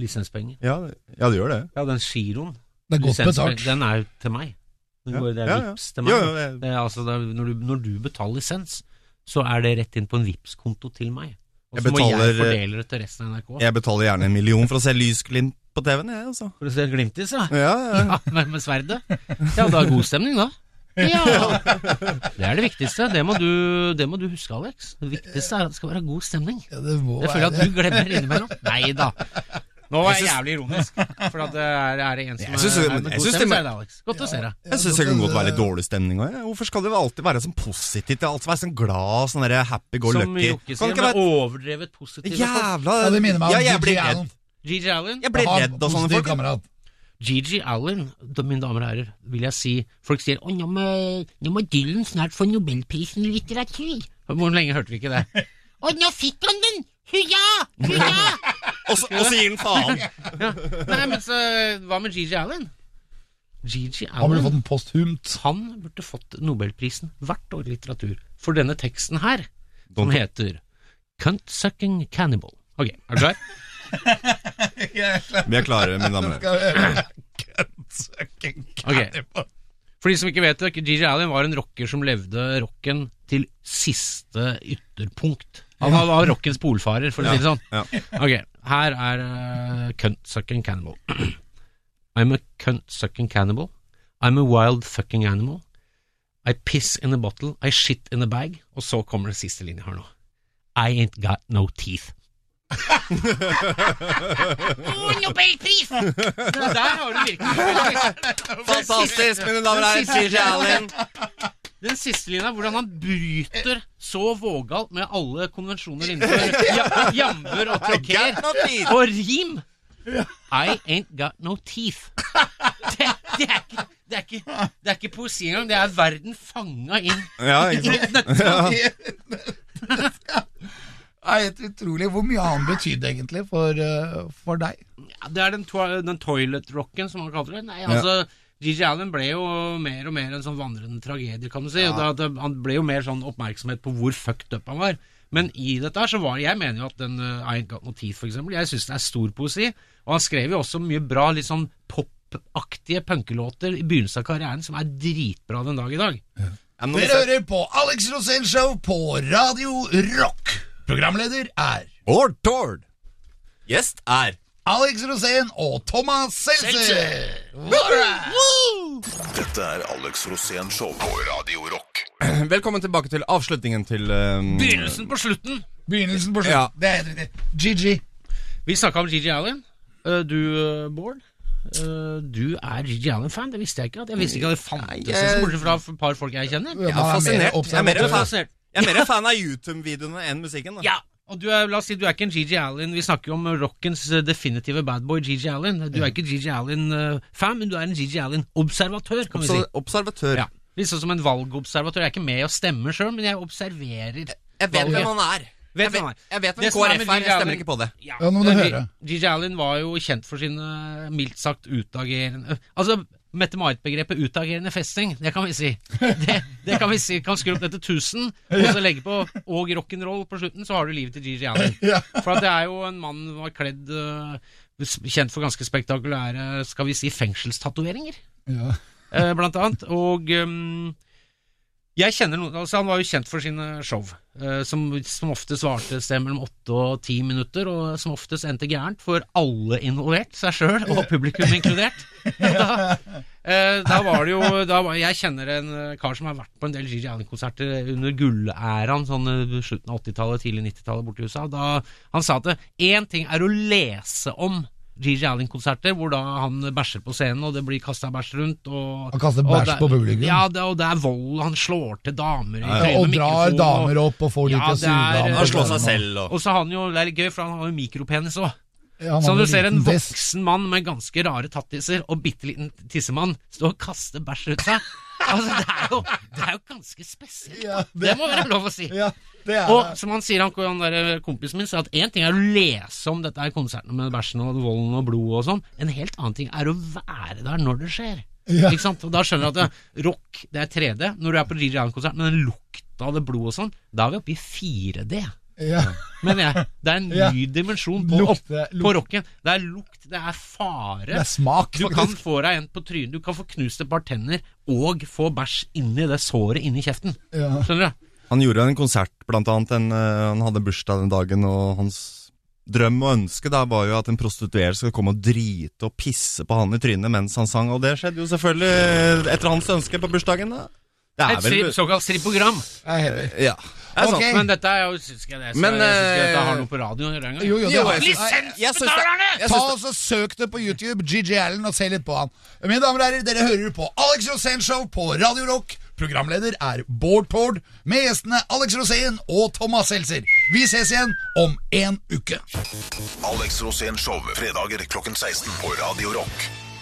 [SPEAKER 4] Lisenspenger.
[SPEAKER 2] Ja, ja, du gjør det.
[SPEAKER 4] Ja, den giroen.
[SPEAKER 1] det er godt
[SPEAKER 4] lisenspenger,
[SPEAKER 1] betalt.
[SPEAKER 4] Den er jo til meg. Den
[SPEAKER 2] Ja,
[SPEAKER 4] går, det er
[SPEAKER 2] ja, ja.
[SPEAKER 4] vips til meg.
[SPEAKER 2] Jo, jo, jeg-
[SPEAKER 4] Det er, altså, det er, når, du, når du betaler lisens, så er det rett inn på en vips konto til meg. Og
[SPEAKER 2] Jeg
[SPEAKER 4] så må jeg
[SPEAKER 2] betaler- eh,
[SPEAKER 4] fordele det til resten av NRK.
[SPEAKER 2] jeg betaler gjerne en million for å se lysglimt på TV-en, jeg, altså.
[SPEAKER 4] For å se et glimt i seg.
[SPEAKER 2] Ja, ja.
[SPEAKER 4] Ja, med, med sverdet. Ja, da er god stemning, da. Ja! Det er det viktigste. Det må, du, det må du huske, Alex. Det viktigste er at det skal være god stemning.
[SPEAKER 1] Ja, det må
[SPEAKER 4] Det føler jeg
[SPEAKER 1] være-
[SPEAKER 4] at du glemmer innimellom. Nei da. Nå var jeg jævlig ironisk, for at det er, er det en som
[SPEAKER 2] Jeg synes-
[SPEAKER 4] er, er med
[SPEAKER 2] jeg
[SPEAKER 4] god
[SPEAKER 2] synes det
[SPEAKER 4] stemme, så
[SPEAKER 2] må-
[SPEAKER 4] er det Alex. Godt å se deg.
[SPEAKER 2] Jeg syns det kan godt være litt dårlig stemning òg. Hvorfor skal det alltid være sånn positivt? Det er alltid være sånn glad, sånn der happy go
[SPEAKER 4] Som
[SPEAKER 2] lucky.
[SPEAKER 4] Jokke
[SPEAKER 2] Kan
[SPEAKER 4] sier,
[SPEAKER 2] det ikke
[SPEAKER 4] med
[SPEAKER 2] være
[SPEAKER 4] overdrevet positive folk.
[SPEAKER 2] jævla
[SPEAKER 1] Ja, det minner meg om
[SPEAKER 2] Ja, jeg blir
[SPEAKER 1] Gigi
[SPEAKER 2] redd.
[SPEAKER 1] Allen.
[SPEAKER 4] Gigi Allen,
[SPEAKER 2] Jeg blir
[SPEAKER 1] Ha en
[SPEAKER 2] redd av sånne
[SPEAKER 1] positiv
[SPEAKER 2] folk.
[SPEAKER 1] kamerat.
[SPEAKER 4] Gigi Allen, da, mine damer og herrer, vil jeg si Folk sier å, nå må, nå må Dylan snart få Nobelprisen i litteratur. Hvor lenge hørte vi ikke det? Å, nå fikk han den! Hurra! Hurra!
[SPEAKER 2] Og så og så gir den faen.
[SPEAKER 4] Nei, men så hva med Gigi Allen? Gigi
[SPEAKER 1] Han burde fått
[SPEAKER 4] Allen
[SPEAKER 1] den posthumt.
[SPEAKER 4] Han burde fått Nobelprisen hvert år i litteratur for denne teksten her, som
[SPEAKER 2] Don't-
[SPEAKER 4] heter Cunt Sucking Cannibal. Ok, er du klar?
[SPEAKER 2] Vi er klare, mine damer og herrer.
[SPEAKER 4] Ok. For de som ikke vet det, Gigi Allen var en rocker som levde rocken til siste ytterpunkt. Han var, var rockens polfarer, for å si det sånn.
[SPEAKER 2] Ja.
[SPEAKER 4] Ok, her er uh, Cunt Sucking Cannibal. I'm a cunt sucking cannibal. I'm a wild fucking animal. I piss in a bottle. I shit in a bag. Og så kommer det siste linje her nå. I ain't got no teeth. oh, Nobelpris! Der, der har du virkelig
[SPEAKER 2] Fantastisk, mine damer og herrer. Gigi Allen.
[SPEAKER 4] Den siste linja, hvordan han bryter så vågalt med alle konvensjoner innenfor ja- jammer og
[SPEAKER 2] Get
[SPEAKER 4] troker
[SPEAKER 2] no teeth.
[SPEAKER 4] og rim. I ain't got no teeth. Det, det, er, ikke, det, er, ikke, det er ikke poesi engang, det er verden fanga inn.
[SPEAKER 2] Ja, ikke sant?
[SPEAKER 1] Det er helt utrolig hvor mye han betydde egentlig for, eh, for deg.
[SPEAKER 4] Ja, Det er den, to den toilet-rocken, som han kalte det. Nei, altså, Gigi Allen ble jo mer og mer en sånn vandrende tragedie, kan du si. Og da, da- han ble jo mer sånn oppmerksomhet på hvor fucked up han var. Men i dette her så var Jeg mener jo at den uh, I Ain't Got No Teeth, for eksempel, jeg syns det er stor poesi. Og han skrev jo også mye bra, litt sånn popaktige punkelåter i begynnelsen av karrieren, som er dritbra den dag i dag.
[SPEAKER 2] Ja, men nå
[SPEAKER 1] Dere
[SPEAKER 2] viser jeg-
[SPEAKER 1] hører på Alex Rosén Show på Radio Rock. Programleder er
[SPEAKER 2] Bård Tord. Gjest er
[SPEAKER 1] Alex Rosén og Thomas Seltzer.
[SPEAKER 3] Dette er Alex Rosén Show på Radio Rock.
[SPEAKER 2] Velkommen tilbake til avslutningen til um,
[SPEAKER 4] Begynnelsen på slutten!
[SPEAKER 1] Begynnelsen på slutten.
[SPEAKER 2] Ja.
[SPEAKER 1] Det er helt riktig. GG.
[SPEAKER 4] Vi snakka om Gigi Allen. Eh, Du, eh, Bård. eh, Du er Gigi Allen-fan, det visste jeg ikke. at Jeg visste ikke at det fantes
[SPEAKER 2] jeg-
[SPEAKER 4] jeg... bortsett fra et par folk jeg kjenner.
[SPEAKER 1] Ja,
[SPEAKER 2] Jeg er
[SPEAKER 1] han mer
[SPEAKER 2] fascinert. Jeg er mer
[SPEAKER 1] observatør.
[SPEAKER 2] fan, jeg er mer fan av YouTube-videoene enn musikken. Da.
[SPEAKER 4] Ja! Og du er, la oss si, du er ikke en Gigi Allen. Vi snakker jo om rockens eh, definitive badboy, Gigi Allen. Du er ikke Gigi Allen-fan, men du er en Gigi Allen-observatør, kan vi si.
[SPEAKER 2] Obser- Observatør.
[SPEAKER 4] Ja. Litt sånn som en valgobservatør. Jeg er ikke med og stemmer sjøl, men jeg observerer.
[SPEAKER 2] Jeg vet
[SPEAKER 4] valget.
[SPEAKER 2] hvem han er.
[SPEAKER 4] Vet
[SPEAKER 2] Jeg
[SPEAKER 4] hvem han
[SPEAKER 2] vet,
[SPEAKER 4] er.
[SPEAKER 2] jeg vet hvem
[SPEAKER 4] Det som er med
[SPEAKER 2] KrF er, jeg
[SPEAKER 4] Gigi
[SPEAKER 2] stemmer
[SPEAKER 4] Allen-
[SPEAKER 2] ikke på det.
[SPEAKER 1] Ja, nå må du
[SPEAKER 4] men
[SPEAKER 1] høre.
[SPEAKER 4] G- Gigi Allen var jo kjent for sin eh, mildt sagt utagerende Altså, Mette-Marit-begrepet utagerende festing, det kan vi si. Det, det kan vi si. Kan skru opp dette 1000, og så legge på og rock'n'roll på slutten, så har du livet til Gigi Allen. For at det er jo en mann som var kledd eh, s- Kjent for ganske spektakulære, skal vi si, fengselstatoveringer,
[SPEAKER 1] Ja.
[SPEAKER 4] eh, blant annet. Og eh, jeg kjenner noen, altså Han var jo kjent for sine show, eh, som, som oftest varte et sted mellom åtte og ti minutter, og som oftest endte gærent for alle involvert, seg sjøl og publikum inkludert. Og Da, eh, da var det jo da var, Jeg kjenner en eh, kar som har vært på en del Gigi Allen-konserter under gullæraen, sånn eh, slutten av 80-tallet, tidlig 90-tallet borte i USA. Da, han sa at én ting er å lese om Gigi Allen-konserter, hvor da han bæsjer på scenen, og det blir kasta bæsj rundt. Og,
[SPEAKER 1] Han kaster
[SPEAKER 4] og
[SPEAKER 1] bæsj
[SPEAKER 4] det-
[SPEAKER 1] på publikum.
[SPEAKER 4] Ja, det, og det er vold, han slår til damer i
[SPEAKER 1] Ja,
[SPEAKER 4] trynet
[SPEAKER 1] og
[SPEAKER 4] med
[SPEAKER 1] drar
[SPEAKER 4] mikrofon,
[SPEAKER 1] damer opp og får de
[SPEAKER 4] Ja,
[SPEAKER 1] til å
[SPEAKER 4] det
[SPEAKER 1] suge
[SPEAKER 4] er-
[SPEAKER 1] ham.
[SPEAKER 2] Han slår seg selv og
[SPEAKER 4] Og så har han jo, det er litt gøy, for han har jo mikropenis òg.
[SPEAKER 1] Ja, han
[SPEAKER 4] Så
[SPEAKER 1] har
[SPEAKER 4] når du ser en
[SPEAKER 1] liten tiss.
[SPEAKER 4] voksen mann med ganske rare tattiser og bitte liten tissemann stå og kaste bæsj ut seg Altså, det er jo, det er jo ganske spesielt.
[SPEAKER 1] Ja,
[SPEAKER 4] det, må være lov å si.
[SPEAKER 1] Ja, det er
[SPEAKER 4] Og
[SPEAKER 1] det.
[SPEAKER 4] som han sier, han, han der eh, kompisen min, sa at én ting er å lese om dette her konserten med bæsjen og volden og blodet og sånn, en helt annen ting er å være der når det skjer.
[SPEAKER 1] Ja.
[SPEAKER 4] Ikke sant? Og da skjønner du at det, rock, det er 3D. Når du er på Gigi Allen-konsert, men den lukta av det blodet og sånn, da er vi oppe i 4D.
[SPEAKER 1] Ja.
[SPEAKER 4] Men jeg, det er en ny
[SPEAKER 1] Ja.
[SPEAKER 4] dimensjon på, opp,
[SPEAKER 1] Lukte,
[SPEAKER 4] på
[SPEAKER 1] lukte.
[SPEAKER 4] rocken. Det er lukt, det er fare.
[SPEAKER 1] Det er smak,
[SPEAKER 4] du kan
[SPEAKER 1] faktisk.
[SPEAKER 4] få deg en på trynet, du kan få knust et par tenner og få bæsj inni det såret inni kjeften.
[SPEAKER 1] Ja.
[SPEAKER 4] Skjønner du?
[SPEAKER 2] Han gjorde en konsert, blant annet. En, eh, han hadde bursdag den dagen, og hans drøm og ønske da var jo at en prostituert skulle komme og drite og pisse på han i trynet mens han sang, og det skjedde jo selvfølgelig etter hans eh, ønske på bursdagen. da Det
[SPEAKER 4] Et strip, såkalt stripprogram.
[SPEAKER 1] Jeg er heller.
[SPEAKER 2] Ja. Det er sant.
[SPEAKER 1] Ok.
[SPEAKER 4] Men dette er jo Syns ikke jeg det skal,
[SPEAKER 2] Men,
[SPEAKER 4] jeg synes ikke
[SPEAKER 2] eh,
[SPEAKER 4] dette har noe på radio å gjøre engang.
[SPEAKER 1] Jo, jo, det
[SPEAKER 2] Jo,
[SPEAKER 1] har
[SPEAKER 2] jeg synes- jeg- jeg synes det-
[SPEAKER 4] Lisensbetalerne!
[SPEAKER 2] jeg
[SPEAKER 1] Ta
[SPEAKER 2] synes det-
[SPEAKER 1] og så Søk det på YouTube, GG Allen, og se litt på han. Mine damer og herrer, dere hører på Alex Rosén Show på Radio Rock. Programleder er Bård Tord, med gjestene Alex Rosén og Thomas Seltzer. Vi ses igjen om en uke.
[SPEAKER 3] Alex Rosén Show, fredager klokken 16 på Radio Rock.